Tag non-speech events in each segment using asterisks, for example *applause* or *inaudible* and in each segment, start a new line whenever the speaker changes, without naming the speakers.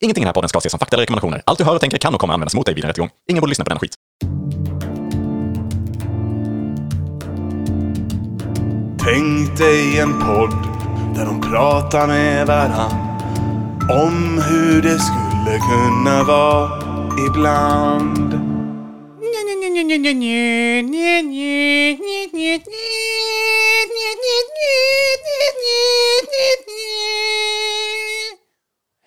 Ingenting i den här podden ska ses som fakta eller rekommendationer. Allt du hör och tänker kan och kommer användas mot dig vid en rättegång. Ingen borde lyssna på den skit.
Tänk dig en podd där de pratar med varann om hur det skulle kunna vara ibland.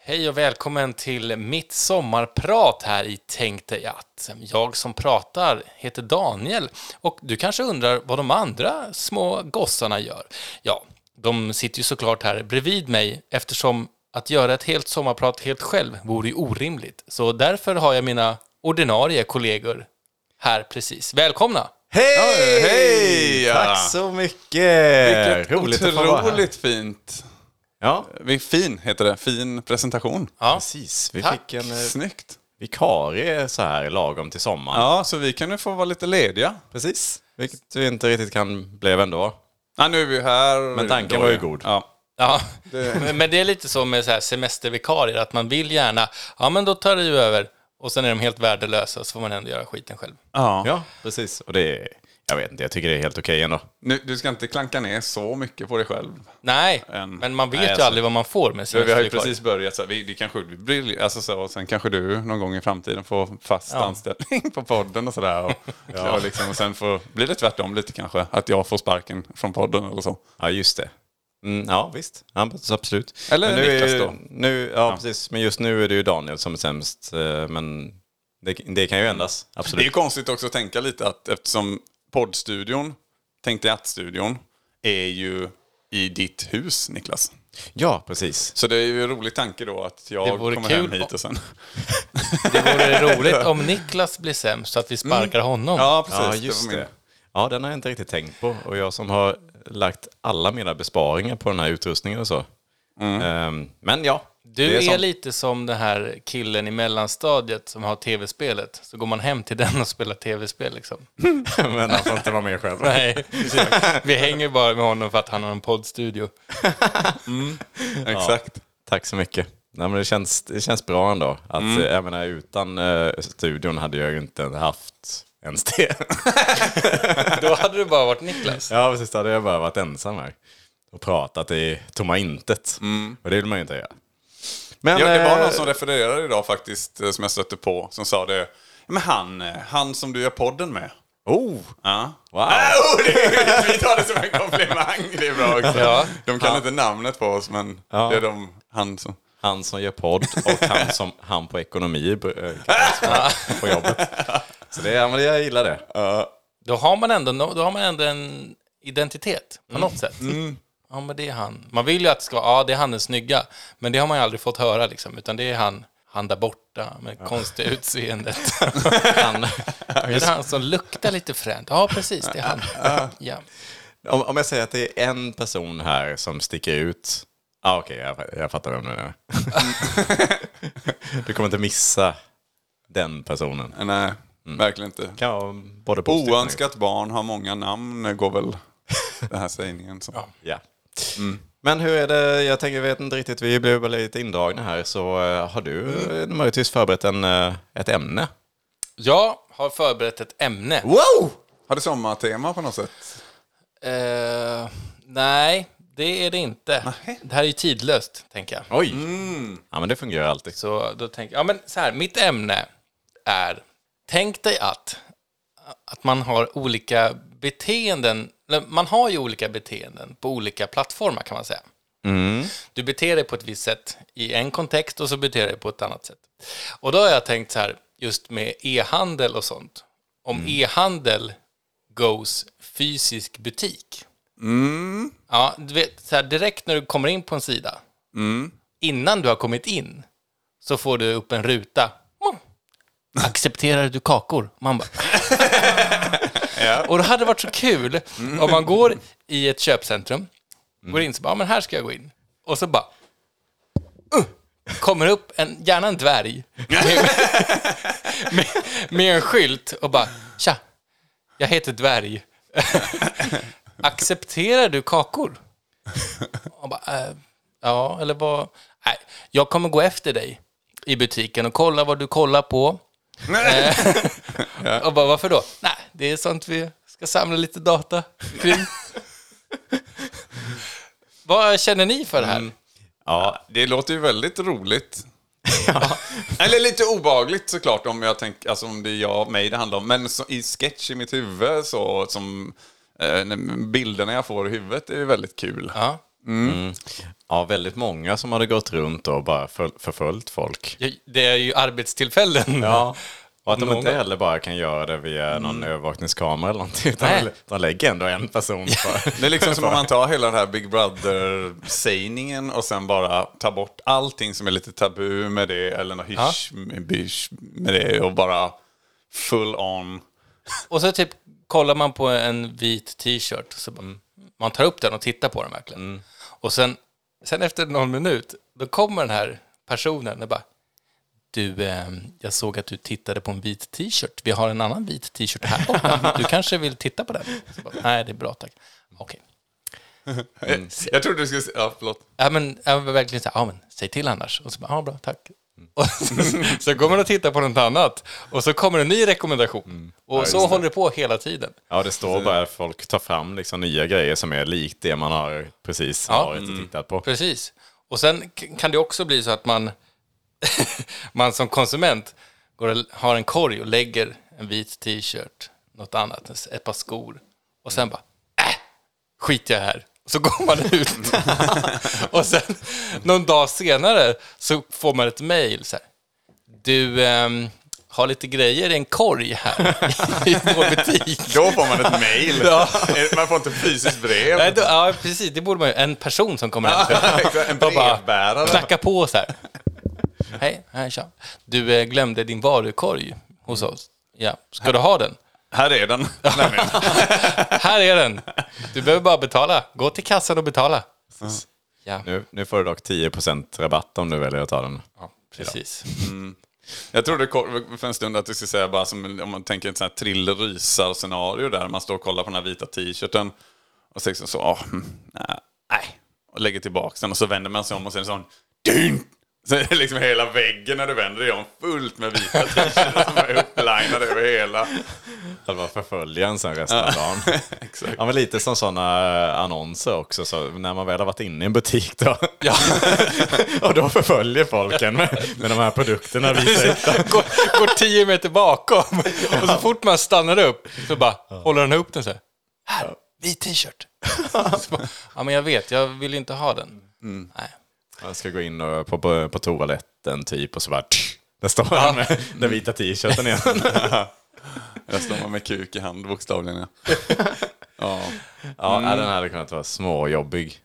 Hej och välkommen till mitt sommarprat här i Tänk dig att. Jag som pratar heter Daniel och du kanske undrar vad de andra små gossarna gör? Ja, de sitter ju såklart här bredvid mig eftersom att göra ett helt sommarprat helt själv vore ju orimligt. Så därför har jag mina ordinarie kollegor här precis. Välkomna!
Hej!
Hej!
Tack så mycket!
Vilket
Eh, Roligt att få vara här.
otroligt fint.
Ja,
Vi- Fin heter det. Fin presentation.
Ja,
precis. Vi
Tack.
fick en eh,
Snyggt.
vikarie så här lagom till sommaren.
Ja, så vi kan nu få vara lite lediga.
Precis. Vilket vi inte riktigt kan blev ändå.
Ja, nu är vi här.
Men tanken
Då
var
är-
ju god.
Ja.
Ja, *laughs* men men det är lite som med så här semestervikarier, att man vill gärna, ja men då tar det ju över, och sen är de helt värdelösa, så får man ändå göra skiten själv.
Ja.
Ja, precis. Och det är, jag vet inte, jag tycker det är helt okej ändå.
Nu, du ska inte klanka ner så mycket på dig själv.
Nej,
En-
men man vet
Nej,
ju
alltså.
aldrig vad man får med
Vi har ju
semestervikarier.
precis börjat så här, vi, det kanske blir, alltså så, och sen kanske du någon gång i framtiden får fast anställning på podden och sådär.
*laughs*
Och, och, liksom, och sen får, blir det tvärtom lite kanske, att jag får sparken från podden eller så.
Ja, just det. Mm, ja, visst. Ja, så absolut.
Eller
nu är
Niklas
ju-
då.
Nu, ja, precis. Men just nu är det ju Daniel som är sämst. eh, Men det, det kan ju ändras.
Det är ju
Absolut.
konstigt också att tänka lite att eftersom poddstudion, tänk dig att-studion, är ju i ditt hus Niklas.
Ja, precis.
Så det är ju en rolig tanke då att
Det
jag
vore
kommer
kul
hem
om-
hit och sen...
Det vore roligt om Niklas blir sämst, så att vi sparkar honom.
Ja, precis.
Ja, just
var min-
det. Ja, den har jag inte riktigt tänkt på. Och jag som har lagt alla mina besparingar på den här utrustningen och så.
Mm.
Ehm, men ja,
Du
det
är,
sånt.
lite som den här killen i mellanstadiet som har tv-spelet, så går man hem till den och spelar tv-spel liksom.
*laughs* men han får inte vara med själv.
Nej, vi hänger bara med honom för att han har en poddstudio.
Exakt.
Tack så mycket. Nej, men det, känns, det känns bra ändå. Att,
Mm.
eh, jag menar, utan eh, studion hade jag ju inte haft ens det.
Då hade du bara varit
*laughs*
Niklas.
ja, precis. Då hade jag bara varit ensam här och pratat i tomma intet. Och det vill man ju inte göra. Men,
Mm. Ja, det var
eh,
någon som refererade idag faktiskt, eh, som jag stötte på, som sa det. Men han, eh, han som du gör podden med.
Oh,
Ja.
wow.
*laughs* Oh, det är, vi tar det som en komplimang, det är bra också.
Ja.
De kan inte namnet på oss, men det är de, han som...
Han som gör podd och han, som, han på ekonomi eh, kallas på- på jobbet. *laughs* Så det, ja, men det- jag gillar det.
Då har man ändå, no- då har man ändå en identitet på något sätt. Ja, men det är han. Man vill ju att det ska vara, ja, det är han den snygga, men det har man ju aldrig fått höra liksom, utan det är han, han där borta med konstiga utseendet.
Han,
det är han som luktar lite fränt. Ja, precis, det är han. Ja.
om, om jag säger att det är en person här som sticker ut. Ah, Okej, jag, jag fattar vem du *laughs* menar. du kommer inte missa den personen.
Nej, verkligen inte.
Kan vara både positivt och
Oönskat barn har många namn, går
*laughs*
väl den här sägningen. Som.
negativt. Ja. Men hur är det, jag tänker, jag vet inte riktigt, vi blev väl lite indragna här, så eh, har du mm. möjligtvis förberett en, eh, ett ämne?
Jag har förberett ett ämne.
Wow!
Har det sommartema på något sätt?
Eh, nej, det är det inte. Det här är ju tidlöst, tänker jag.
Oj! Mm. Ja, men det fungerar alltid.
Så då tänker jag, ja men så här, mitt ämne är, tänk dig att, att man har olika beteenden, eller man har ju olika beteenden på olika plattformar kan man säga. Du beter dig på ett visst sätt i en kontext och så beter du dig på ett annat sätt. Och då har jag tänkt så här, just med e-handel och sånt, om e-handel goes fysisk butik. Ja, du vet, så här, direkt när du kommer in på en sida, innan du har kommit in, så får du upp en ruta. Mm. Accepterar du kakor? Man bara... Och det hade varit så kul om man går i ett köpcentrum, går in så bara, "Ja, men här ska jag gå in. Och så bara... "Uh!" Kommer upp en, gärna en dvärg, med, *laughs* med, med en skylt och bara, tja, jag heter dvärg. *laughs* Accepterar du kakor? "Äh, Och bara, eh, ja, eller vad? Nej, jag kommer gå efter dig. i butiken och kolla vad du kollar på. Eh, och bara, varför då? Nej, det är sånt vi ska samla lite data kring. vad känner ni för det här?
Ja, det låter ju väldigt roligt.
*laughs*
*laughs* Eller lite obagligt såklart om jag tänker, alltså om det är jag, mig det handlar om. Men så, i sketch i mitt huvud så, som eh, när- bilderna jag får i huvudet är ju väldigt kul.
Ja.
Ja, väldigt många som hade gått runt och bara för, förföljt folk.
Det är ju arbetstillfällen.
Ja. Och att de
Många.
inte heller bara kan göra det
Mm.
via någon övervakningskamera eller någonting. Utan
Nej.
de lägger ändå en
*laughs*
person på...
*laughs*
Det är liksom som om man tar hela den här Big Brother-sägningen och sen bara tar bort allting som är lite tabu med det eller något hysch bysch med det och bara full on.
Och så typ kollar man på en vit t-shirt. Så bara, mm, Man tar upp den och tittar på den verkligen. Och sen, sen efter någon minut, då kommer den här personen och bara du, eh, jag såg att du tittade på en vit t-shirt. Vi har en annan vit t-shirt här borta. Du kanske vill titta på den? Så bara, Nej, det är bra, tack. Okej.
Jag, jag trodde du skulle säga, ja förlåt.
Ja, men jag var verkligen så här, ja men säg till annars. Och så bara, ja bra, tack. *laughs* Och så, så går man och tittar på något annat och så kommer en ny rekommendation. Och så håller det på hela tiden.
Ja, det står bara att folk tar fram liksom nya grejer som är likt det man har precis
Ja.
varit
Mm.
och tittat på.
Precis. Och sen k- kan det också bli så att man, *laughs* man som konsument går och, har en korg och lägger en vit t-shirt, något annat, ett par skor. Och sen bara, äh, skit jag här. Och så *laughs* går man ut. och sen någon dag senare så får man ett mejl så här. Du ehm, har lite grejer i en korg här *laughs* i vår butik.
Då får man
*laughs*
ett mail.
Ja.
Man får inte fysiskt brev.
Nej, då, ja, precis. Det borde man ju. En person som kommer hem.
en
Och bara
brevbärare.
Knacka på så här. Hej, hej, tja. Du eh, glömde din varukorg hos oss. Ja, ska du ha den?
Här är den. Nej, men.
Här är den. Du behöver bara betala. Gå till kassan och betala. Ja,
Nu, nu får du dock 10% rabatt om du väljer att ta den.
ja precis.
Jag trodde kort- för en stund att du skulle säga bara som om man tänker ett sånt här thriller-rysar-scenario där man står och kollar på den här vita t-shirten och så liksom så, ah, mm, nej, nej, och lägger tillbaka den och så vänder man sig om och sen sån, dyn! Så är det liksom hela väggen när du vänder dig om fullt med vita t-shirtar som är upplinade över hela.
Att bara förfölja en sen resten av dagen.
Exakt.
Ja, men lite som sådana annonser också, så när man väl har varit inne i en butik då. *laughs* och då förföljer folk en med, med de här produkterna. vi ser.
Går, *laughs* går tio meter bakom och så fort man stannar upp så bara håller den upp den så här. Här, vit t-shirt. *laughs* Så bara, Ja, men jag vet. Jag vill ju inte ha den. Nej.
Man ska gå in och, på, på, på toaletten typ och så bara... tsch, Där står han med den vita t-shirten igen.
Där står man med kuk i hand bokstavligen. Ja.
Ja, nej, den hade kunnat vara småjobbig,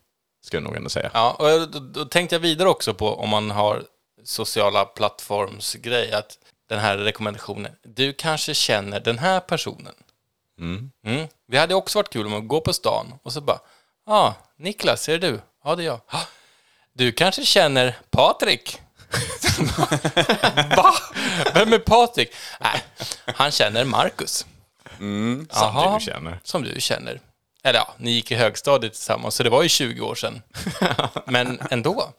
skulle jag nog ändå säga.
Ja, och jag- då, då tänkte jag vidare också på om man har sociala plattformsgrej, att den här rekommendationen, du kanske känner den här personen. Mm. Det hade också varit kul om man går på stan och så bara, ja, ah, Niklas, är det du? Ja, det är jag. "Ah, Du kanske känner Patrik? *laughs* Va? Vem är Patrik? Nej, han känner Marcus.
Mm. Som
Jaha.
du känner.
Som du känner. Eller ja, ni gick i högstadiet tillsammans, så det var ju 20 år sedan. Men ändå.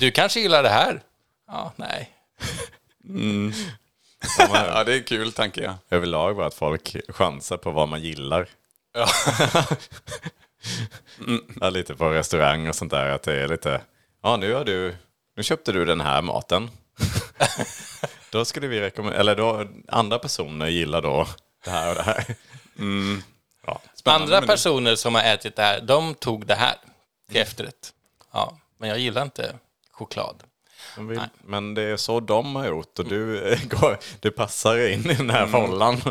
Du kanske gillar det här? Ja, nej.
*laughs* ja, det är kul tanke. Ja.
Överlag bara att folk chansar på vad man gillar. *laughs* Mm. Ja, lite på restaurang och sånt där, att det är lite... Ja, nu har du... Nu köpte du den här
*laughs*
maten. då skulle vi rekommendera... Eller då, andra personer gillar då det här och det här.
Andra personer som har ätit det här, de tog det här till efterrätt. Ja, men jag gillar inte choklad.
De vill, men det är så de har gjort och du, eh, går, du passar in i den här
Mm.
fållan.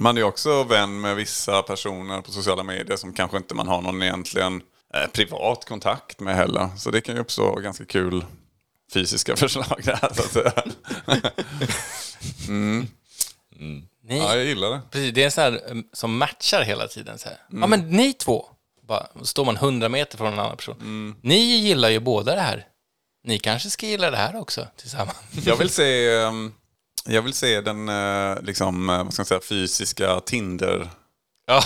Man är ju också vän med vissa personer på sociala medier som kanske inte man har någon egentligen eh, privat kontakt med heller. Så det kan ju uppstå ganska kul fysiska *laughs* förslag där. Så att säga.
Ni,
Ja, jag gillar det.
precis, det är en sån här mm, som matchar hela tiden. Så här. Ja, men ni två. Bara, står man 100 meter från en annan person. Ni gillar ju båda det här. Ni kanske ska gilla det här också tillsammans.
Jag vill se, ehm, jag vill se den eh, liksom, eh, vad ska man säga, fysiska Tinder.
*laughs* Ja,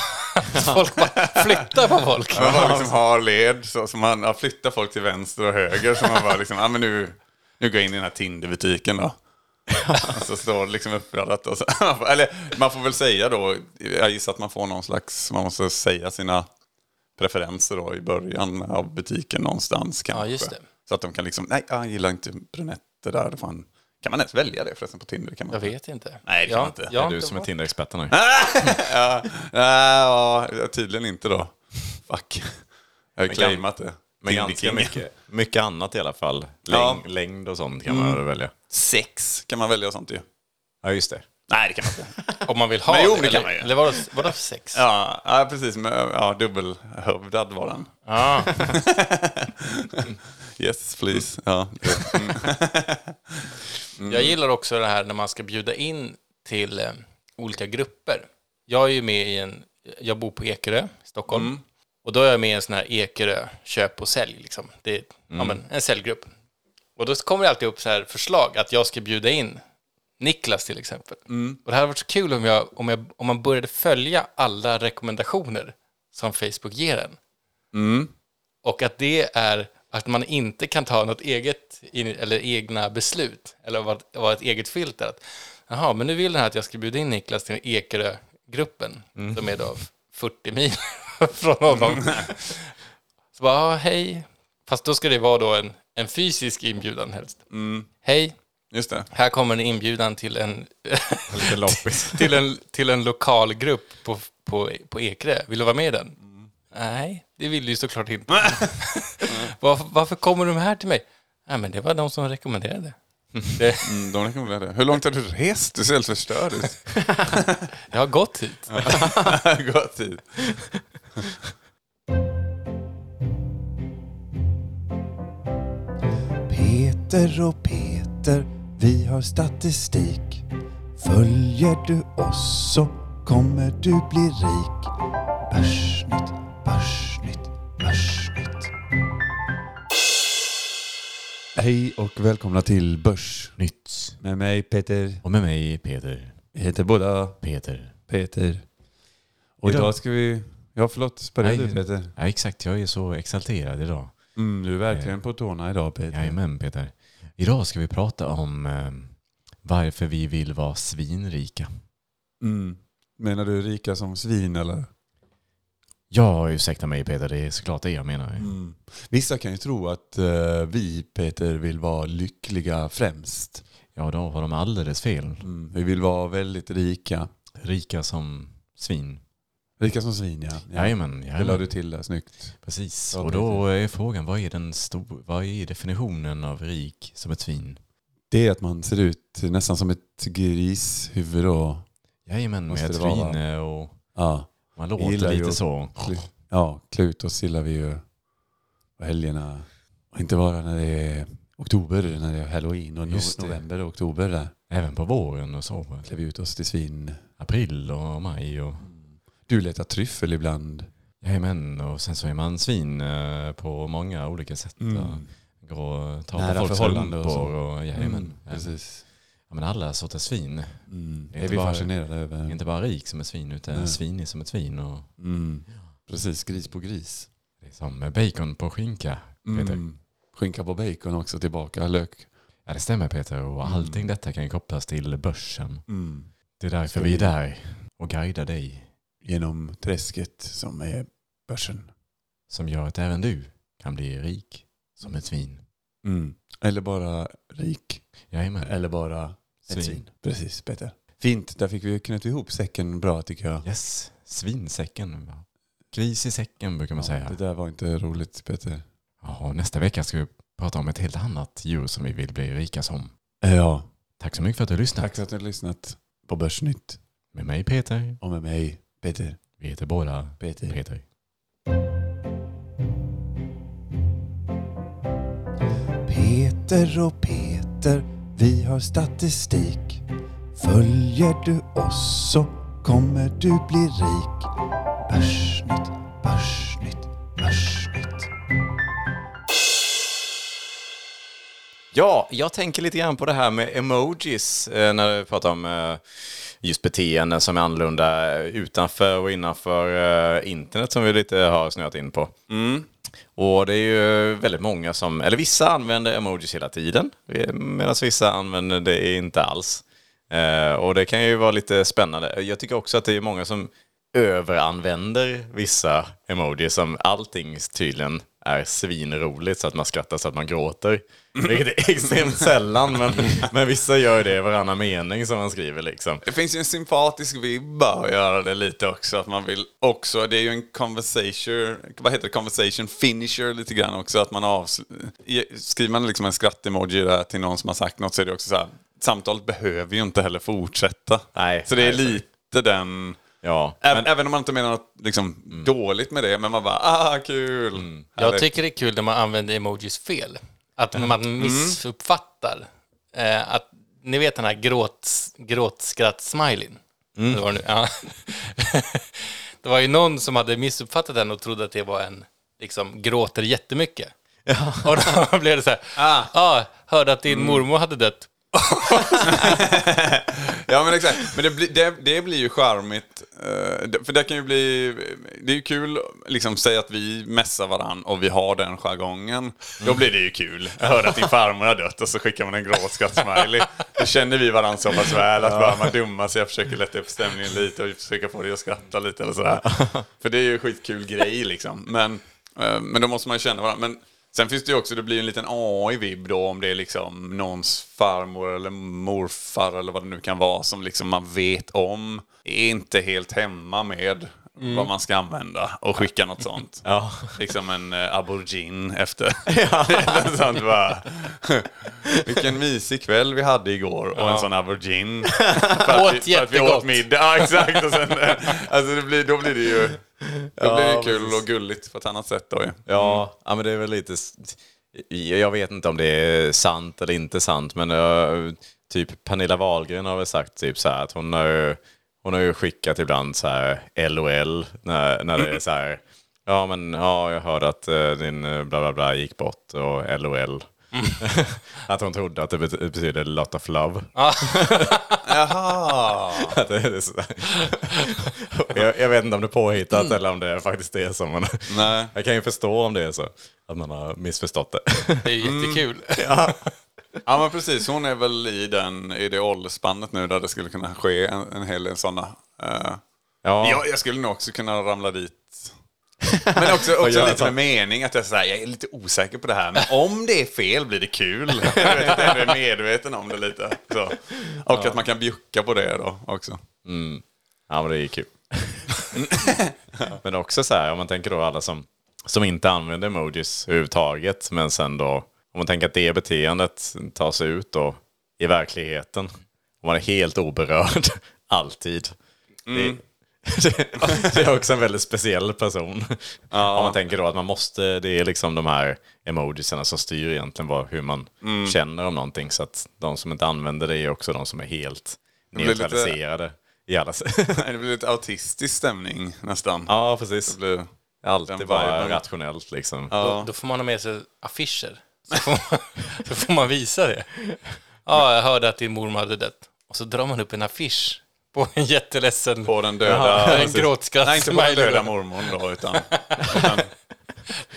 folk bara flyttar på folk.
Man bara liksom har led, så, så man ja, flyttar folk till vänster och höger. Så man bara liksom, ja men nu, Nu går jag in i den här Tinder-butiken då. Och så står det liksom uppradat. Och så, eller man får väl säga då, jag gissar att man får någon slags, man måste säga sina preferenser då i början av butiken någonstans kanske.
just det.
Så att de kan liksom, nej jag gillar inte brunetter där. Fan. Kan man ens välja det förresten på Tinder? Kan man
Jag vet inte.
Nej, det Äh, kan
jag,
man inte.
Jag,
är
har
du
inte
som är
varit-
Tinder-experten nu.
ja, ja, ja, tydligen inte då. Fuck. Jag har ju
kan-
claimat det.
Men
Tinder
ganska
King.
mycket, mycket annat i alla fall. Läng,
Ja. Mm.
Längd och sånt kan man väl välja.
Sex kan man välja och sånt ju.
Ja, just det.
Nej, det kan man inte.
Om man vill ha
Men jo, det
det
kan
eller,
man ju.
eller vadå, vadå för sex?
Ja, ja precis. Men, ja, dubbelhövdad var den.
Ja.
Yes, please. Ja.
Jag gillar också det här när man ska bjuda in till eh, olika grupper. Jag är ju med i en, jag bor på Ekerö, Stockholm. Och då är jag med i en sån här Ekerö köp och sälj, liksom. Det är ja, men, en säljgrupp. Och då kommer det alltid upp så här förslag att jag ska bjuda in Niklas till exempel. Och det hade varit så kul om, jag, om, jag, om man började följa alla rekommendationer som Facebook ger en. Och att det är att man inte kan ta något eget in- eller egna beslut eller vara vara ett eget filter. Att, Jaha, men nu vill den här att jag ska bjuda in Niklas till Ekerö-gruppen som är då 40 mil *laughs* från honom. Så bara, ah, hej. Fast då ska det vara då en, en fysisk inbjudan helst. Hej,
Just det.
här kommer en inbjudan till en,
Lite loppis.
*laughs* till en, till en lokal grupp på, på, på Ekerö. Vill du vara med i den? Nej, det vill du ju såklart inte. *laughs* varför, varför kommer de här till mig? Nej, men det var de som rekommenderade. Det,
Mm, de rekommenderar det. Hur långt har du rest? Du ser helt förstörd ut.
jag har gått hit.
*laughs* Gott tid.
Peter och Peter, vi har statistik. Följer du oss så kommer du bli rik. Börsnytt, börsnytt, börsnytt. Hej och välkomna till Börsnytt. Med mig Peter.
Och med mig Peter.
Vi heter båda
Peter.
Peter.
Och idag
Idag
ska vi... Ja, förlåt. Börja
Nej.
du Peter.
Ja, exakt. Jag är så exalterad idag.
Mm, du är verkligen på tårna idag Peter.
Jajamän, Peter. Idag ska vi prata om eh, varför vi vill vara svinrika.
Mm. Menar du rika som svin eller?
Ja, ursäkta mig Peter, det är såklart det jag menar.
Mm. Vissa kan ju tro att eh, vi Peter vill vara lyckliga främst.
Ja, då har de alldeles fel.
Mm. Vi vill vara väldigt rika.
Rika som svin.
Rika som svin ja. ja.
Jajamän,
Det la du
jajamän.
till där, snyggt.
precis.
Ja,
Och då är frågan, vad är, den stor, vad är definitionen av rik som ett svin?
Det är att man ser ut nästan som ett grishuvud och
Jajamän, med
Måste
ett
det vara, va?
tryne och
ja,
man
gillar
låter
ju
lite
att-
så.
klu- ja, klut och sillar vi ju på helgerna. Och inte bara när det är oktober, när det är halloween och no
Just det.
november och oktober där
Även på våren och så.
klär vi ut oss till svin.
April och maj och
Du letar tryffel ibland.
Jajamän, och sen så är man svin eh, på många olika sätt. Och Går och tar
Mm. Nära
på folks
förhållande och
rumpor
så. Mm,
och, jajamän. Ja.
Precis.
Ja, men alla sorters svin.
Mm.
Det är
Det är
inte
vi
bara-
fascinerade
Det är
över.
Inte bara rik som ett svin, utan
Mm. Nej.
svinig som ett svin. Och
Mm. Precis, gris på gris.
det är som liksom bacon på skinka, Peter.
Mm. Skinka på bacon också tillbaka, lök.
Ja, det stämmer Peter. Och allting detta kan ju kopplas till börsen.
Mm.
Det är därför
Ska
vi
vi-
är där och guidar dig.
Genom träsket som är börsen.
Som gör att även du kan bli rik som ett svin.
Mm. Eller bara rik.
Jajamän.
Eller bara
Svin.
ett svin. Precis, Peter. Fint, där fick vi knutit ihop säcken bra tycker jag.
Yes, svinsäcken. va? Gris i säcken brukar man säga.
det där var inte roligt Peter.
Ja, och nästa vecka ska vi prata om ett helt annat djur som vi vill bli rika som.
Ja,
Tack så mycket för att du lyssnade.
tack för att ni har lyssnat på Börsnytt.
Med mig Peter.
Och med mig, Peter.
Vi heter båda
Peter.
Peter.
Peter och Peter, vi har statistik. Följer du oss så kommer du bli rik. Börsnytt, börsnytt, börsnytt.
Ja, jag tänker lite grann på det här med emojis eh, när vi pratar om eh, just beteenden som är annorlunda eh, utanför och innanför eh, internet som vi lite har snöat in på. Och det är ju väldigt många som, eller vissa använder emojis hela tiden, medan vissa använder det inte alls. Eh, och det kan ju vara lite spännande. Jag tycker också att det är många som överanvänder vissa emojis som allting tydligen är svinroligt så att man skrattar så att man gråter. Vilket är extremt sällan, men, men vissa gör det i varannan mening som man skriver liksom.
Det finns ju en sympatisk vibb att göra det lite också. Att man vill också, det är ju en conversation, vad heter det, conversation finisher lite grann också. Att man avsl- i- skriver man liksom en skratt-emoji där till någon som har sagt något så är det också så här, samtalet behöver ju inte heller fortsätta.
Nej,
så det är
nej, så-
lite den...
Ja,
Ä-
men,
Även om man inte menar något liksom, dåligt med det, men man bara ah kul!
Jag tycker det är kul när man använder emojis fel. Att
Mm.
man missuppfattar. Eh, att, ni vet den här gråt, gråtskratt-smileyn?
Mm.
Det, var det nu. Ja. *laughs* det var ju någon som hade missuppfattat den och trodde att det var en liksom gråter jättemycket. *laughs* Och då blev det så här, ah. hörde att din
Mm.
mormor hade dött.
Ja men exakt. Men det, blir- det, det blir ju charmigt. eh, det- För det kan ju bli... Det är ju kul, liksom säg att vi mässar varann och vi har den jargongen. Då blir det ju kul. Jag hörde att din farmor har dött och så skickar man en gråtskrattsmiley. Då känner vi varandra så pass väl att bara man dummar sig. Jag försöker lätta upp stämningen lite och försöka få dig att skratta lite eller sådär. För det är ju en skitkul grej liksom. Men, eh, men då måste man ju känna varandra. Men, Sen finns det ju också, det blir en liten AI-vibb då om det är liksom någons farmor eller morfar eller vad det nu kan vara som liksom man vet om är inte helt hemma med vad man ska använda och skicka något sånt.
Mm. ja.
Liksom en eh, aubergine
*laughs*
efter. *laughs* Eller sånt bara. Vilken mysig kväll vi hade igår och en sån aubergine. För
Åt
vi, för att vi åt
jättegott.
middag. Ja, exakt. Och sen, eh, alltså det blir, då blir det ju då blir det
Ja,
kul
precis.
och gulligt på ett annat sätt då ju.
Ja, ja men det är väl lite... s- Jag vet inte om det är sant eller inte sant, men eh, typ Pernilla Wahlgren har väl sagt typ så här att hon har ju, hon har ju skickat ibland så här LOL när, när det är så här... Ja, men ja, jag hörde att eh, din eh, bla bla bla gick bort och LOL.
Mm.
*laughs* att hon trodde att det bet- betyder lot of love.
*laughs* Jaha.
*laughs* Att det är så här. jag, jag vet inte om det är påhittat eller om det faktiskt är så. Men
Mm. Nej.
jag kan ju förstå om det är så. Att man har missförstått det. *laughs*
Det är ju
Mm.
jättekul.
Ja men precis, hon är väl i, den, i det åldersspannet nu där det skulle kunna ske en, en hel del sådana. eh,
Ja,
jag, jag skulle nog också kunna ramla dit. Men också, också
gör jag?
lite med mening att jag, så här, jag är lite osäker på det här. Men om det är fel blir det kul. *laughs* Jag vet, jag är ändå medveten om det lite. Så. Och att man kan bjucka på det då också. *laughs*
ja men det är ju kul. *laughs* men också så här, om man tänker då alla som, som inte använder emojis överhuvudtaget. Men sen då, om man tänker att det beteendet tar sig ut då i verkligheten. Och man är helt oberörd, *laughs* alltid.
Mm.
Det, *laughs* det är också en väldigt speciell person. Om man tänker då att man måste, det är liksom de här emojisarna som styr egentligen vad, hur man
Mm.
känner om någonting. Så att de som inte använder det är också de som är helt
blir lite-
neutraliserade. I alla... s- *laughs*
Det blir lite autistisk stämning nästan.
ja, precis.
Det blir,
Alltid
den
bara
viben.
rationellt liksom.
Då, då får man ha med sig affischer. Så får man, *laughs* så får man visa det. Ja, jag hörde att din mormor hade dött. Och så drar man upp en affisch på en jätteledsen...
på den döda...
en gråtskratt.
Nej, inte på den döda mormor då, utan... utan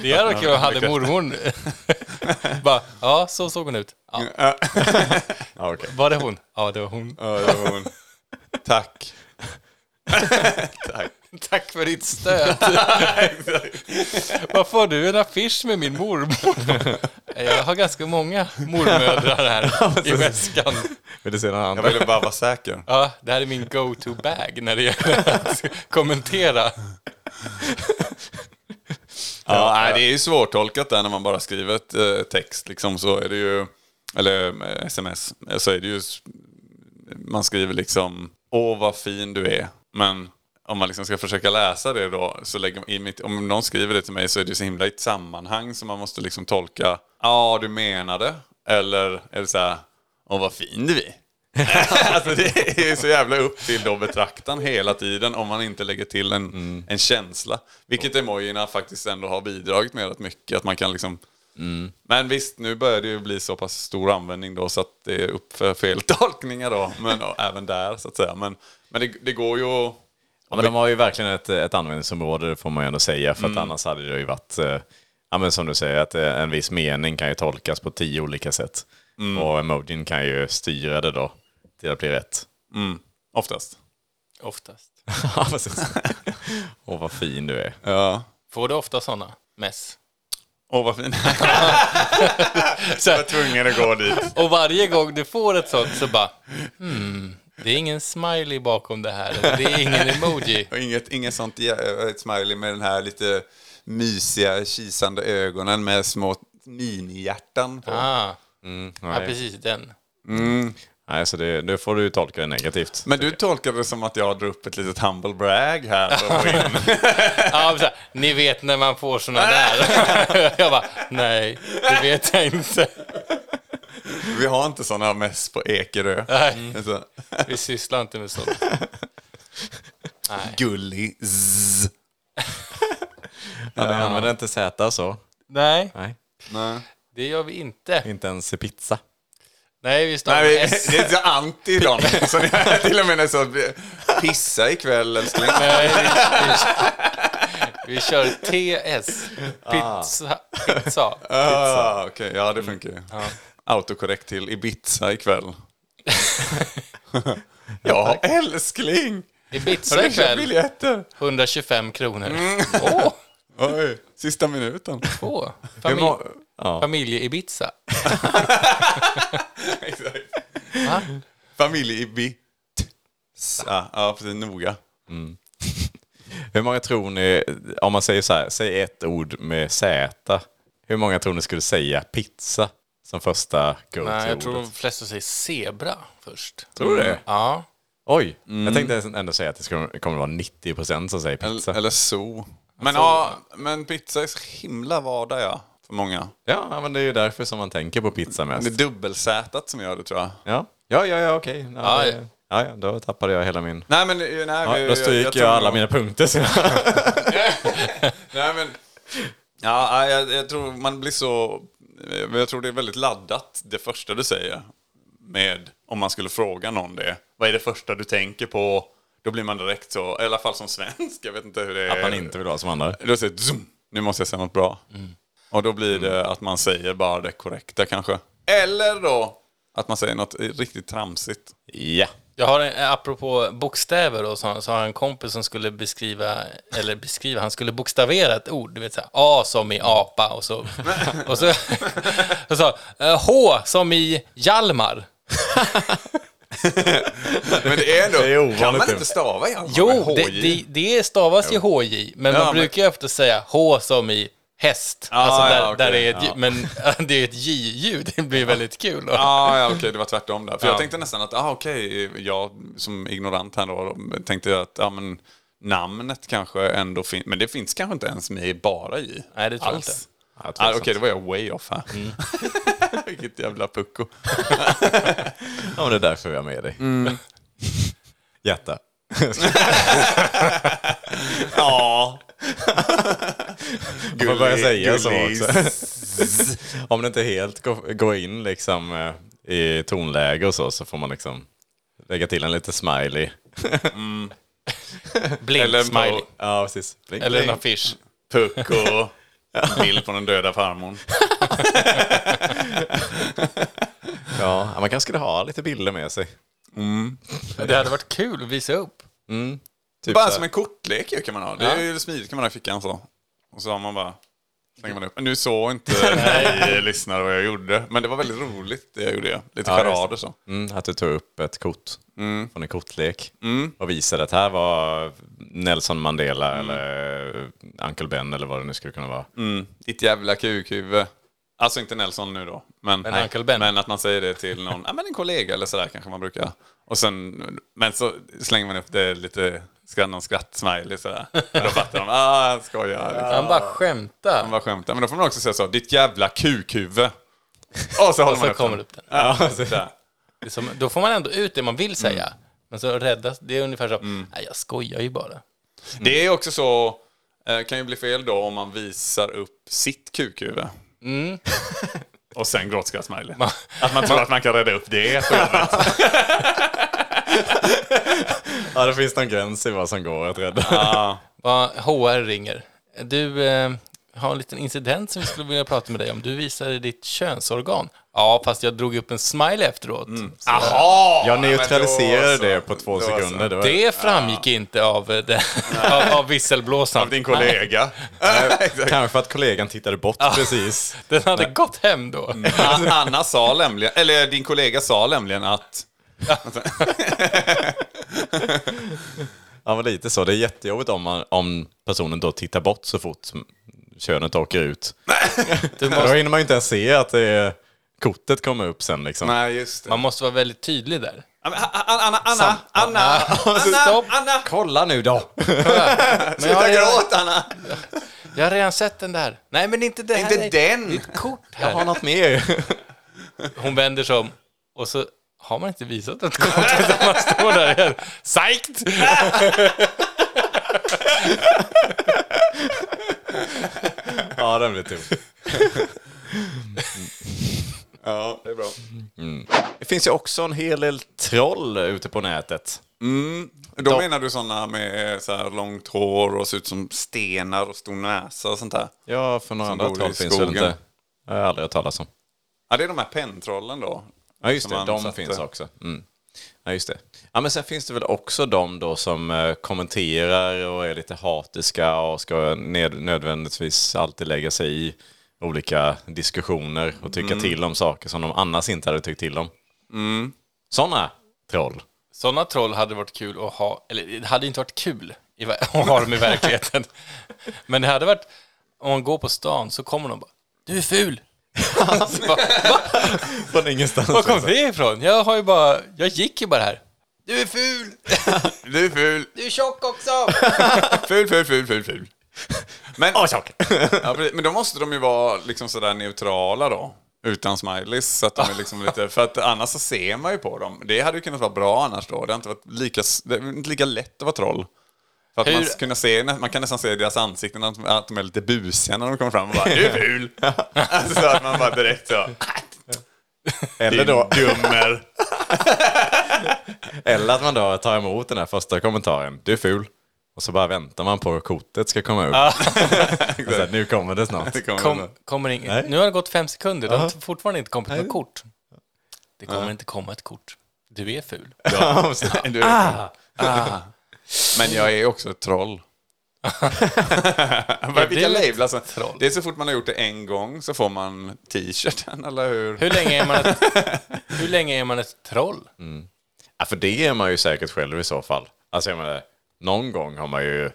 Det är kul att hade mormor. *laughs* Bara, ja, så såg hon ut. Ja.
Ja, okej.
Var det hon? Ja, det var hon.
ja, det var hon. Tack.
Tack för ditt stöd. Varför har du en affisch med min mormor? *laughs* Jag har ganska många mormödrar här i väskan.
Vill du se någon
Jag
annan?
ville bara vara *laughs* säker.
Ja, det här är min go-to-bag när det gäller *laughs* att kommentera.
Ja, nej, det är ju svårtolkat där när man bara skriver ett eh, text liksom så är det ju, eller eh, sms, eh, så är det ju, s- man skriver liksom åh vad fin du är. Men om man liksom ska försöka läsa det då, så lägger, i mitt, om någon skriver det till mig så är det ju så himla i ett sammanhang så man måste liksom tolka, ja du menade, eller är det så här, åh vad fin du är. alltså det är ju så jävla upp till då betraktaren hela tiden om man inte lägger till en, en känsla. Vilket emojierna faktiskt ändå har bidragit med rätt mycket. Att man kan liksom... Men visst, nu börjar det ju bli så pass stor användning då så att det är upp för fel tolkningar då. Men och, även där så att säga. Men, men det, det går ju att...
Mm. Ja, men de har ju verkligen ett, ett användningsområde, det får man ju ändå säga. För att annars hade det ju varit... eh, ja, men som du säger, att eh, en viss mening kan ju tolkas på tio olika sätt. Och emojin kan ju styra det då till att bli rätt.
Oftast.
Oftast.
*laughs* Ja, precis. och vad fin du är.
Ja.
Får du ofta sådana? Mess.
Åh, vad fin.
Så här,
Tvungen att gå dit.
och varje gång du får ett sånt så bara, hmm, det är ingen smiley bakom det här. eller Det är ingen emoji.
*laughs* Och inget, inget sånt jä- ett smiley med den här lite mysiga, kisande ögonen med små minihjärtan på.
Ah, ja,
Nej,
precis den.
Nej så det, då får du ju tolka det negativt.
Men du tolkade det som att jag drar upp ett litet humble brag här. för att få
*laughs*
in.
Ja, så här, ni vet när man får såna där. *laughs* Jag bara, nej, det vet jag inte.
Vi har inte sådana mest på Ekerö. Mm. Alltså,
Nej,
Så,
vi sysslar inte med sånt. Nej.
Gullig zzz.
Ja, du använder inte Z så.
nej,
Nej,
Nej,
det gör vi inte.
inte ens pizza.
Nej, vi stavar
Nej
S.
det är så anti dem.
*laughs*
Så ni är till och med när så pissa ikväll älskling.
Nej, vi, vi, vi kör TS. Pizza. pizza. Mm.
Ah, okej. Ja, det funkar ju. Autokorrekt till Ibiza ikväll.
*laughs*
ja, älskling! Har
Ibiza
du köpt
ikväll.
biljetter?
125 kronor. Åh,
Oj, sista minuten.
två.
Hur
Familj,
må- ja.
familje-Ibiza. Va?
Familje-Ibiza. Ja, precis. Noga.
Hur många tror ni, om man säger så här, säg ett ord med Z. Hur många tror ni skulle säga pizza som första
Nej, jag tror
go-to-ordet?
de flesta säger zebra först.
Tror du det?
Ja.
Oj, jag tänkte ändå säga att det skulle, kommer vara 90% som säger pizza.
Eller, eller zoo. Men, ja, men pizza är så himla vardag, ja. För många.
Ja, men det är ju därför som man tänker på pizza mest.
Det är dubbelsätat som gör det, tror jag.
Ja, ja, ja, ja okej. Ja,
Ja,
det- ja, ja, då tappade jag hela min...
Nej, men... Nej,
Ja,
Eh, jag-
då stryker jag,
tror
alla
nog-
mina punkter. Så.
Nej, men... Ja, jag, jag tror man blir så... Jag tror det är väldigt laddat, det första du säger. Med, om man skulle fråga någon det. Vad är det första du tänker på? Då blir man direkt så, i alla fall som svensk. Jag vet inte hur det är.
Att man inte vill vara som andra.
Då säger det zoom, nu måste jag säga något bra.
Mm.
Och då blir det att man säger bara det korrekta kanske. Eller då att man säger något riktigt tramsigt.
Ja.
Jag har en, apropå bokstäver och så, så har jag en kompis som skulle beskriva, eller beskriva, han skulle bokstavera ett ord, du vet så här, A som i apa och så, och så, och så eh, H som i Hjalmar.
Men
*laughs*
det är ändå,
Det är ovanligt
kan man
dumt.
inte stava Hjalmar
Jo, det,
HJ?
det, det stavas ju HJ, men
Ja,
man
men-
brukar ju ofta säga H som i häst,
Ah,
alltså där,
ja, okej,
där det är ett, ljud, men *laughs* det är ett J-ljud, det blir väldigt kul. Och,
Ah, ja, okej, det var tvärtom där. För jag
Ja.
tänkte nästan att, ah, okej, jag som ignorant här då, tänkte att ja, men, namnet kanske ändå finns, men det finns kanske inte ens med bara i.
Nej, det tror jag inte. Mm.
Ah, okej, det var jag way off här. Vilket jävla pucko.
Ja, men det är därför jag är med dig.
Mm.
Hjärta.
Ja.
Man får börja säga så
gullis.
också. Om det inte helt går, går in liksom, eh, i tonläge och så, så får man liksom lägga till en lite smiley.
Blink, eller smiley,
Ja, precis. Blink,
eller en
blink.
affisch. *laughs*
Pucko. Bild på den döda farmor.
Ja, man kanske skulle ha lite bilder med sig.
Det hade varit kul att visa upp.
Typ så
Bara
här.
som en kortlek ju kan man ha. Det är ju smidigt kan man ha i fickan så. Och så har man bara... Slänger man upp. Nu såg inte ni lyssnare vad jag gjorde. Men det var väldigt roligt det jag gjorde. ja. Lite
Ja,
charader
just
så.
Mm, att du tog upp ett kort
Mm.
från en kortlek och visade att här var Nelson Mandela
Mm.
eller eh, Uncle Ben eller vad det nu skulle kunna vara.
Ditt jävla kukhuvud. Alltså inte Nelson nu då. Men,
Men Uncle Ben.
men att man säger det till någon, ja, men en kollega eller sådär kanske man brukar. Och sen, men så slänger man upp det lite, ska någon skratt-smiley sådär. Då fattar de, ah han skojar. Liksom.
Han bara skämtar.
Han bara skämtar. Men då får man också säga så, ditt jävla kukhuvud. Och så håller
Och
man
så
upp
kommer
den.
upp den.
Ja, sådär.
Det är som, Liksom, då får man ändå ut det man vill säga.
Mm.
Men så räddas, det är ungefär som, nej jag skojar ju bara.
Det är också så, eh, kan ju bli fel då om man visar upp sitt kukhuvud. Och sen gråtskrattsmiley. Att Mm. man tror att man kan rädda upp det.
Ja, det finns någon gräns i vad som går att rädda.
Va, HR ringer. Du, eh, har en liten incident som vi skulle vilja prata med dig om. Du visade ditt könsorgan. Ja, fast jag drog upp en smile efteråt.
Mm.
Så
Jag neutraliserade
då så.
det på två
Då så.
sekunder. Det var,
Det framgick inte av, eh,
*laughs*
det, av, av visselblåsaren.
Av
*laughs*
din kollega. *laughs*
kanske för att kollegan tittade bort precis.
Den hade gått hem då.
An- Anna sa nämligen, eller din kollega sa nämligen att...
Ja, men lite så. Det är jättejobbigt om, man, om personen då tittar bort så fort som könet åker ut. *laughs*
Du
Då
måste,
hinner man ju inte ens se att det är, kortet kommer upp sen liksom. *laughs*
Nej, just det.
man måste vara väldigt tydlig där.
Anna, Anna, Anna, Anna, Anna,
Stopp.
Anna!
Kolla nu då!
Men jag, har redan,
Anna!
jag har redan sett den där. Nej, men inte det här.
Inte
är-
den.
Det är ett kort
Jag har
här.
något mer.
Hon vänder sig om och så har man inte visat *laughs* ett kort utan man står där igen. Psykt!
*laughs* ja, den blir tuff.
Ja, det är bra.
Det finns ju också en hel del troll ute på nätet.
Då menar du sådana med så här långt hår och ser ut som stenar och stor näsa och sånt där?
Ja, för några andra
bor i
troll finns väl
skogen.
inte. Jag har jag aldrig hört talas om.
Ja, det är de här penntrollen då.
Ja, just
Som
det.
han
De
satte.
finns också. Mm. Ja, just det. Ja, men sen finns det väl också de då som eh, kommenterar och är lite hatiska och ska ned, nödvändigtvis alltid lägga sig i olika diskussioner och tycka till om saker som de annars inte hade tyckt till om. Mm. Sådana troll.
Sådana troll hade varit kul att ha, eller det hade inte varit kul i ver- *laughs* att ha dem i verkligheten. Men det hade varit, om man går på stan så kommer de bara, du är ful! Så bara, "Va?
Från ingenstans.
Var kom det ifrån? Jag har ju bara, jag gick ju bara här. Du är ful!
Du är ful,
Du är tjock också!
*laughs* ful, ful, ful, ful, ful. Men, ja, precis. men då måste de ju vara liksom sådär neutrala då. Utan smileys. Så att de är liksom lite, för att annars så ser man ju på dem. Det hade ju kunnat vara bra annars då. Det har inte varit lika, det har inte lika lätt att vara troll. För att man,
Hur-
kunna se, man kan nästan se i deras ansikten att, att de är lite busiga när de kommer fram och *laughs* bara du är ful. alltså, så att man bara direkt så.
Eller, då,
Dummer.
*laughs* eller att man då tar emot den här första kommentaren. Du är ful. Och så bara väntar man på att kortet ska komma upp. *laughs* och sen, nu kommer det snart.
*laughs* Det kommer
Kom,
nog.
kommer ing- nu har det gått fem sekunder, de har fortfarande inte kommit med kort. Det kommer inte komma ett kort. Du är ful.
Du är Ah. Men jag är också ett troll. Vad- Vilka
Är du ett
label alltså.
troll?
Det är så fort man har gjort det en gång så får man t-shirten, *laughs* eller hur?
Hur länge är man ett, hur länge är man ett troll?
Ja, för det är man ju säkert själv i så fall. Alltså jag menar, någon gång har man ju...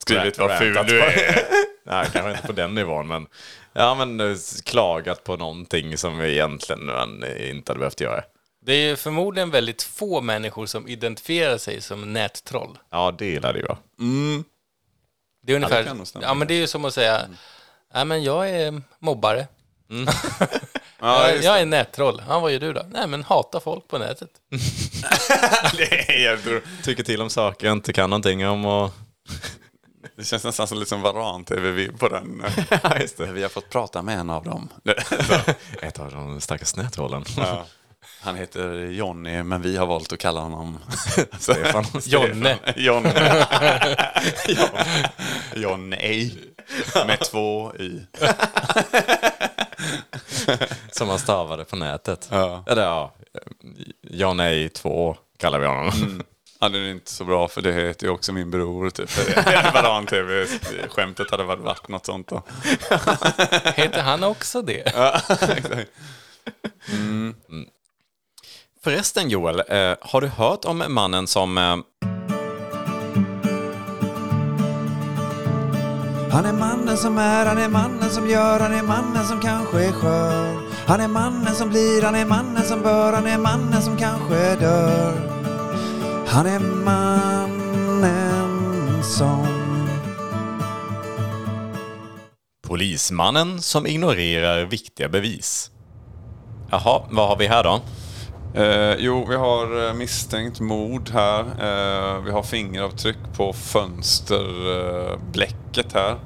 Skrivit vad
rant-
ful
rantat
du
på- *laughs* Nej, kanske inte på den nivån, men... Ja, men eh, klagat på någonting som egentligen man eh, inte hade behövt göra.
Det är ju förmodligen väldigt få människor som identifierar sig som nättroll.
Ja, det lär det
*laughs*
ju vara.
Det är
det
ungefär,
kan nog
ja,
stämma. Mm.
men det är ju som att säga, nej men jag är mobbare. Mm.
*laughs* Ja,
*laughs* jag,
just
jag
det.
är nättroll. Ja, vad gör du då? Nej men hatar folk på nätet.
Det, är jävligt roligt.
Tycker till om saker jag inte kan någonting om och...
det känns nästan som liksom Varan-tv på den.
Ja, just det.
Vi har fått prata med en av dem.
Ett av de stackars näthålen. *laughs*
Han heter Jonny, men vi har valt att kalla honom *laughs*
Stefan.
Jonne.
Jonne. Jonny. Med två i.
Som han stavade på nätet. Ja. Eller ja, ja nej två kallar vi honom.
Ja, det är inte så bra för det heter ju också min bror typ. Varan-tv-skämtet hade väl varit något sånt då.
Heter han också det?
*laughs*
Förresten Joel, eh, har du hört om mannen som... Eh,
Han är mannen som är, han är mannen som gör, han är mannen som kanske är skör. Han är mannen som blir, han är mannen som bör, han är mannen som kanske dör. Han är mannen som...
Polismannen som ignorerar viktiga bevis. Jaha, vad har vi här då?
Eh, jo, vi har eh, misstänkt mord här. Eh, vi har fingeravtryck på fönsterblecket eh, bläcket här.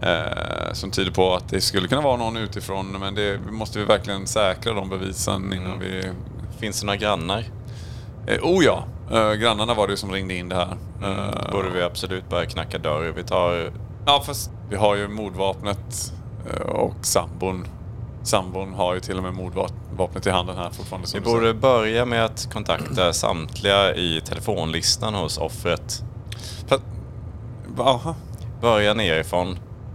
Eh, som tyder på att det skulle kunna vara någon utifrån, men det måste vi verkligen säkra de bevisen
Mm.
innan vi...
Finns det några grannar?
Eh, oh ja! Eh,
Mm.
grannarna var det ju som ringde in det här. Eh,
Borde vi absolut börja knacka dörr? Vi tar...
ja, fast Vi har ju mordvapnet eh, och sambon. Sambon har ju till och med mordvapnet i handen här fortfarande.
Vi
Som du säger.
borde börja med att kontakta samtliga i telefonlistan hos offret.
Fast- Aha.
Börja nerifrån.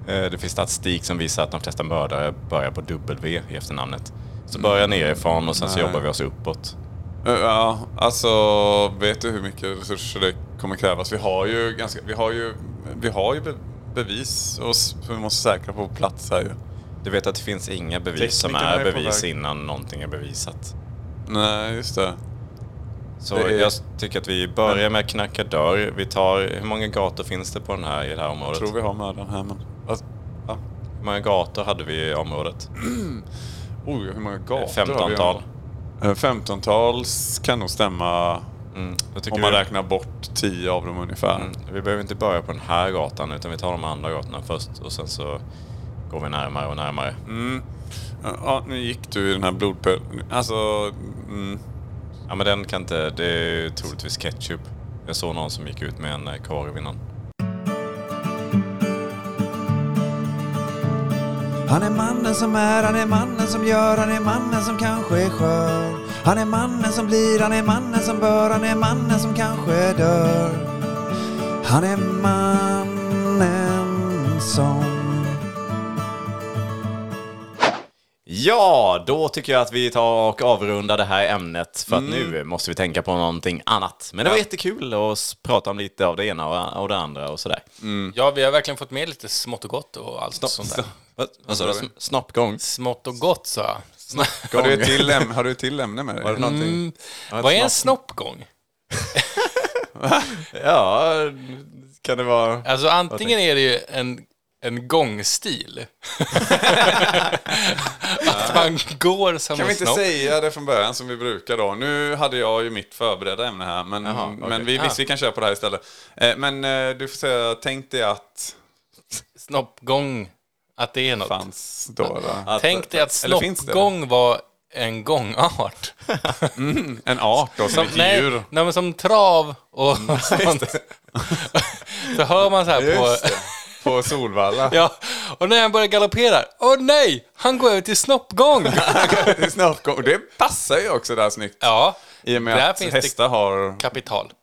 Eh, Det finns statistik som visar att de flesta mördare börjar på W i efternamnet. Så börja nerifrån och sen så
Nej.
jobbar vi oss uppåt.
Eh, Ja, alltså vet du hur mycket resurser det kommer krävas? Vi har ju ganska, vi har ju, vi har ju be, bevis och s- vi måste säkra på plats här ju.
Du vet att det finns inga bevis som
Teknikerna
är
är på
bevis
väg.
innan någonting är bevisat.
Nej, just det.
Så
Det är-
jag tycker att vi börjar med att knacka dörr. Vi tar, hur många gator finns det på den här, i det här
Jag
området?
tror vi har mördaren här men... Alltså, ja.
Hur många gator hade vi i området?
Oj, hur många gator har vi?
15-tal.
Eh, 15-tal kan nog stämma
Mm. Jag tycker
om man
vi,
räknar bort 10 av dem ungefär.
Mm, vi behöver inte börja på den här gatan utan vi tar de andra gatorna först och sen så går vi närmare och närmare.
Ja, nu gick du i den här blodpölen. Alltså, mm.
Ja men den kan inte, det är ju troligtvis ketchup. Jag såg någon som gick ut med en eh, korv innan.
Han är mannen som är, han är mannen som gör, han är mannen som kanske är skör. Han är mannen som blir, han är mannen som bör, han är mannen som kanske dör. Han är mannen som...
Ja, då tycker jag att vi tar och avrundar det här ämnet för att nu måste vi tänka på någonting annat. Men det var jättekul att s- prata om lite av det ena och- och det andra och sådär.
Mm.
Ja, vi har verkligen fått med lite smått och gott och allt sånt där.
*laughs* Vad- Vad sa du? Sn- Snoppgång?
Smått och gott, sa jag.
har, du ett till äm- har du ett till ämne med dig? Mm.
Var det någonting?
*laughs* Vad är en snoppgång?
*laughs* Ja, kan det vara...
Alltså antingen är det ju en, en
*laughs*
gångstil. *laughs* att man går som
Kan
en
vi inte
snopp.
säga det från början som vi brukar då? Nu hade jag ju mitt förberedda ämne här, men, men vi,
Ah.
visst vi kan köra på det här istället. Eh, Men eh, du får säga, tänk dig att
Snoppgång, att det är något.
fanns då eller?
Tänk dig att
eller finns det?
snoppgång var en gångart.
En art då, *laughs* som
Som,
ett
nej,
djur. Mm,
nej, men som trav och sånt. *laughs* Så hör man så här på...
Just det.
*laughs*
På Solvalla.
Ja, och när han börjar galoppera, åh nej, han går över till
*laughs*
snoppgång.
Det är snoppgång. Det passar ju också där snyggt.
Ja,
I och med
där
att
finns
hästar har
det kapital.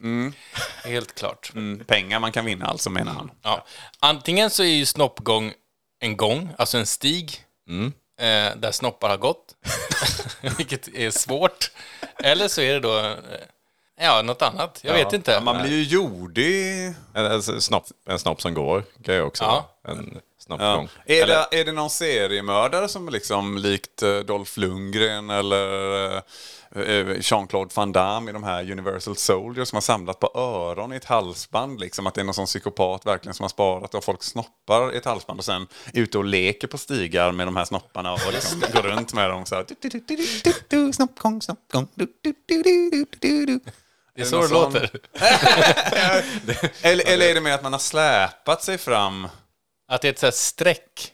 Helt klart.
mm, pengar man kan vinna alltså menar han.
Ja. Antingen så är ju snoppgång en gång, alltså en stig,
Mm.
eh, där snoppar har gått, *laughs* vilket är svårt. Eller så är det då eh, ja, något annat. Jag vet inte.
Man blir ju jordig. alltså,
En, en, snopp, en snopp som går kan ju också
Ja.
vara en snoppgång.
Är, det, är det någon seriemördare som liksom likt eh, Dolph Lundgren eller eh, eh, Jean-Claude Van Damme i de här Universal Soldiers som har samlat på öron i ett halsband? Liksom att det är någon sån psykopat verkligen som har sparat och folk snoppar i ett halsband och sen är ute och leker på stigar med de här snopparna
*laughs*
och liksom går runt med dem så här. Du, du, du, du, du, du, Snoppgång, snoppgång. Du, du, du, du, du, du, du.
det är
det
så
någon
det
sån-
låter.
*laughs*
*laughs*
Eller, eller är det mer att man har släpat sig fram?
Att det är ett så här streck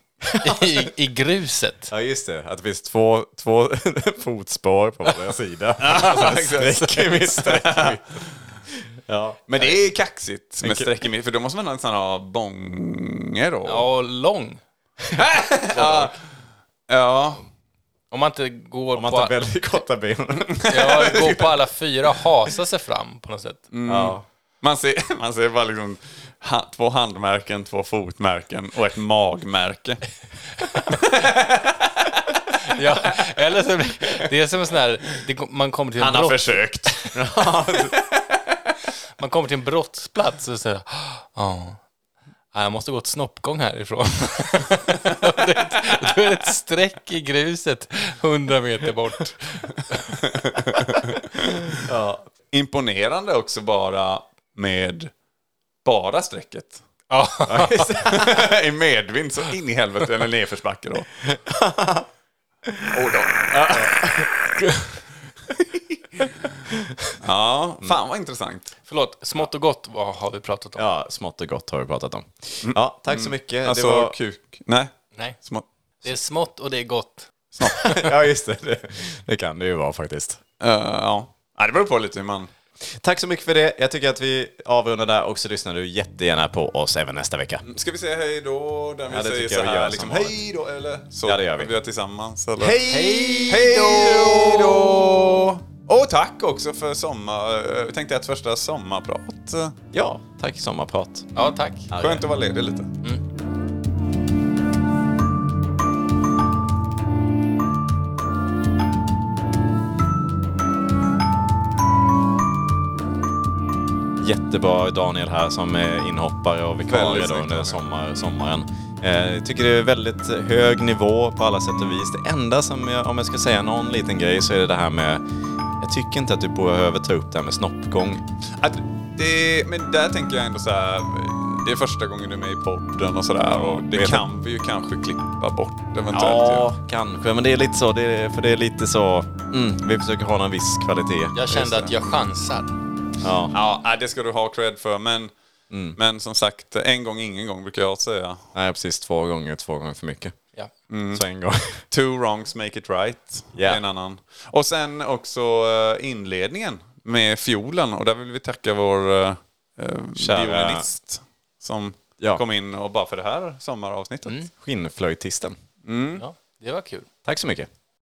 i, i gruset.
Ja just det, att det finns två, två *laughs* fotspår på varje
*laughs*
sida. Alltså, Och sen streck i mitt, streck i mitt. Ja.
Men det är kaxigt med streck i mitten, för då måste man nästan ha bånger då.
Ja, och lång.
Ja.
Om man inte går,
Om man
på,
tar väldigt korta *laughs* ben.
ja, går på alla fyra och hasar sig fram på något sätt.
Mm. Ja.
Man, ser, *laughs* man ser bara liksom ha, två handmärken, två fotmärken och ett magmärke.
Ja, eller så, blir- det är som en sån här, det, kom- man, kommer till en
Han har
brott,
försökt.
man kommer till en brottsplats och säger ja, ja, jag måste gå ett snoppgång härifrån. *laughs* Och det är ett- Då är det ett streck i gruset, hundra meter bort.
Imponerande också bara med bara strecket.
Ja,
*laughs* I medvind så in i helvete, eller nedförsbacke då. Ja, fan vad intressant.
förlåt, smått och gott vad har vi pratat om.
ja, smått och gott har vi pratat om. Ja, tack så mycket.
Alltså
det var... *laughs*
kuk... Nej.
Nej,
Små...
det är smått och det är gott.
ja just det. det, det kan det ju vara faktiskt.
Eh, ja. Nej, det beror på lite hur man...
Tack så mycket för det. Jag tycker att vi avrundar där och så lyssnar du jättegärna på oss även nästa vecka.
Ska vi säga hej då? Där vi
Ja, det
säger
tycker
så
jag vi
här,
gör
liksom,
som vanligt.
hej då eller? Så
Ja, det gör vi.
gör tillsammans. Eller?
Hej!
Hej då! Och tack också för sommar... eh, Jag tänkte att första sommarprat. eh,
Ja, tack Sommarprat.
Ja, tack.
Skönt att vara ledig lite.
Jättebra Daniel här som är inhoppare och vikarie då
Väldigt snyggt,
under
Daniel.
sommar, sommaren. Eh, jag tycker det är väldigt hög nivå på alla sätt och vis. Det enda som jag, om jag ska säga någon liten grej så är det det här med jag tycker inte att du behöver ta upp det här med snoppgång.
Att det, men där tänker jag ändå så här. Det är första gången du är med i podden och sådär. Och det
vet
kan vi ju kanske klippa bort eventuellt.
Ja,
ju.
kanske. Men det är lite så, det är, för det är lite så... Mm, vi försöker ha någon viss kvalitet.
Jag kände att jag chansar.
Ja.
Ja, nej, det ska du ha cred för. Men, men som sagt, en gång ingen gång brukar jag säga.
Nej, precis. Två gånger, två gånger för mycket.
Ja.
Så en gång.
Mm. *laughs* Two wrongs make it right.
Ja.
Det är en annan. Och sen också eh, inledningen med fiolen. Och där vill vi tacka vår eh, eh,
Kära-
violinist som
Ja. Mm.
kom in och bara för det här sommaravsnittet.
Skinnflöjtisten.
Ja, det var kul.
Tack så mycket.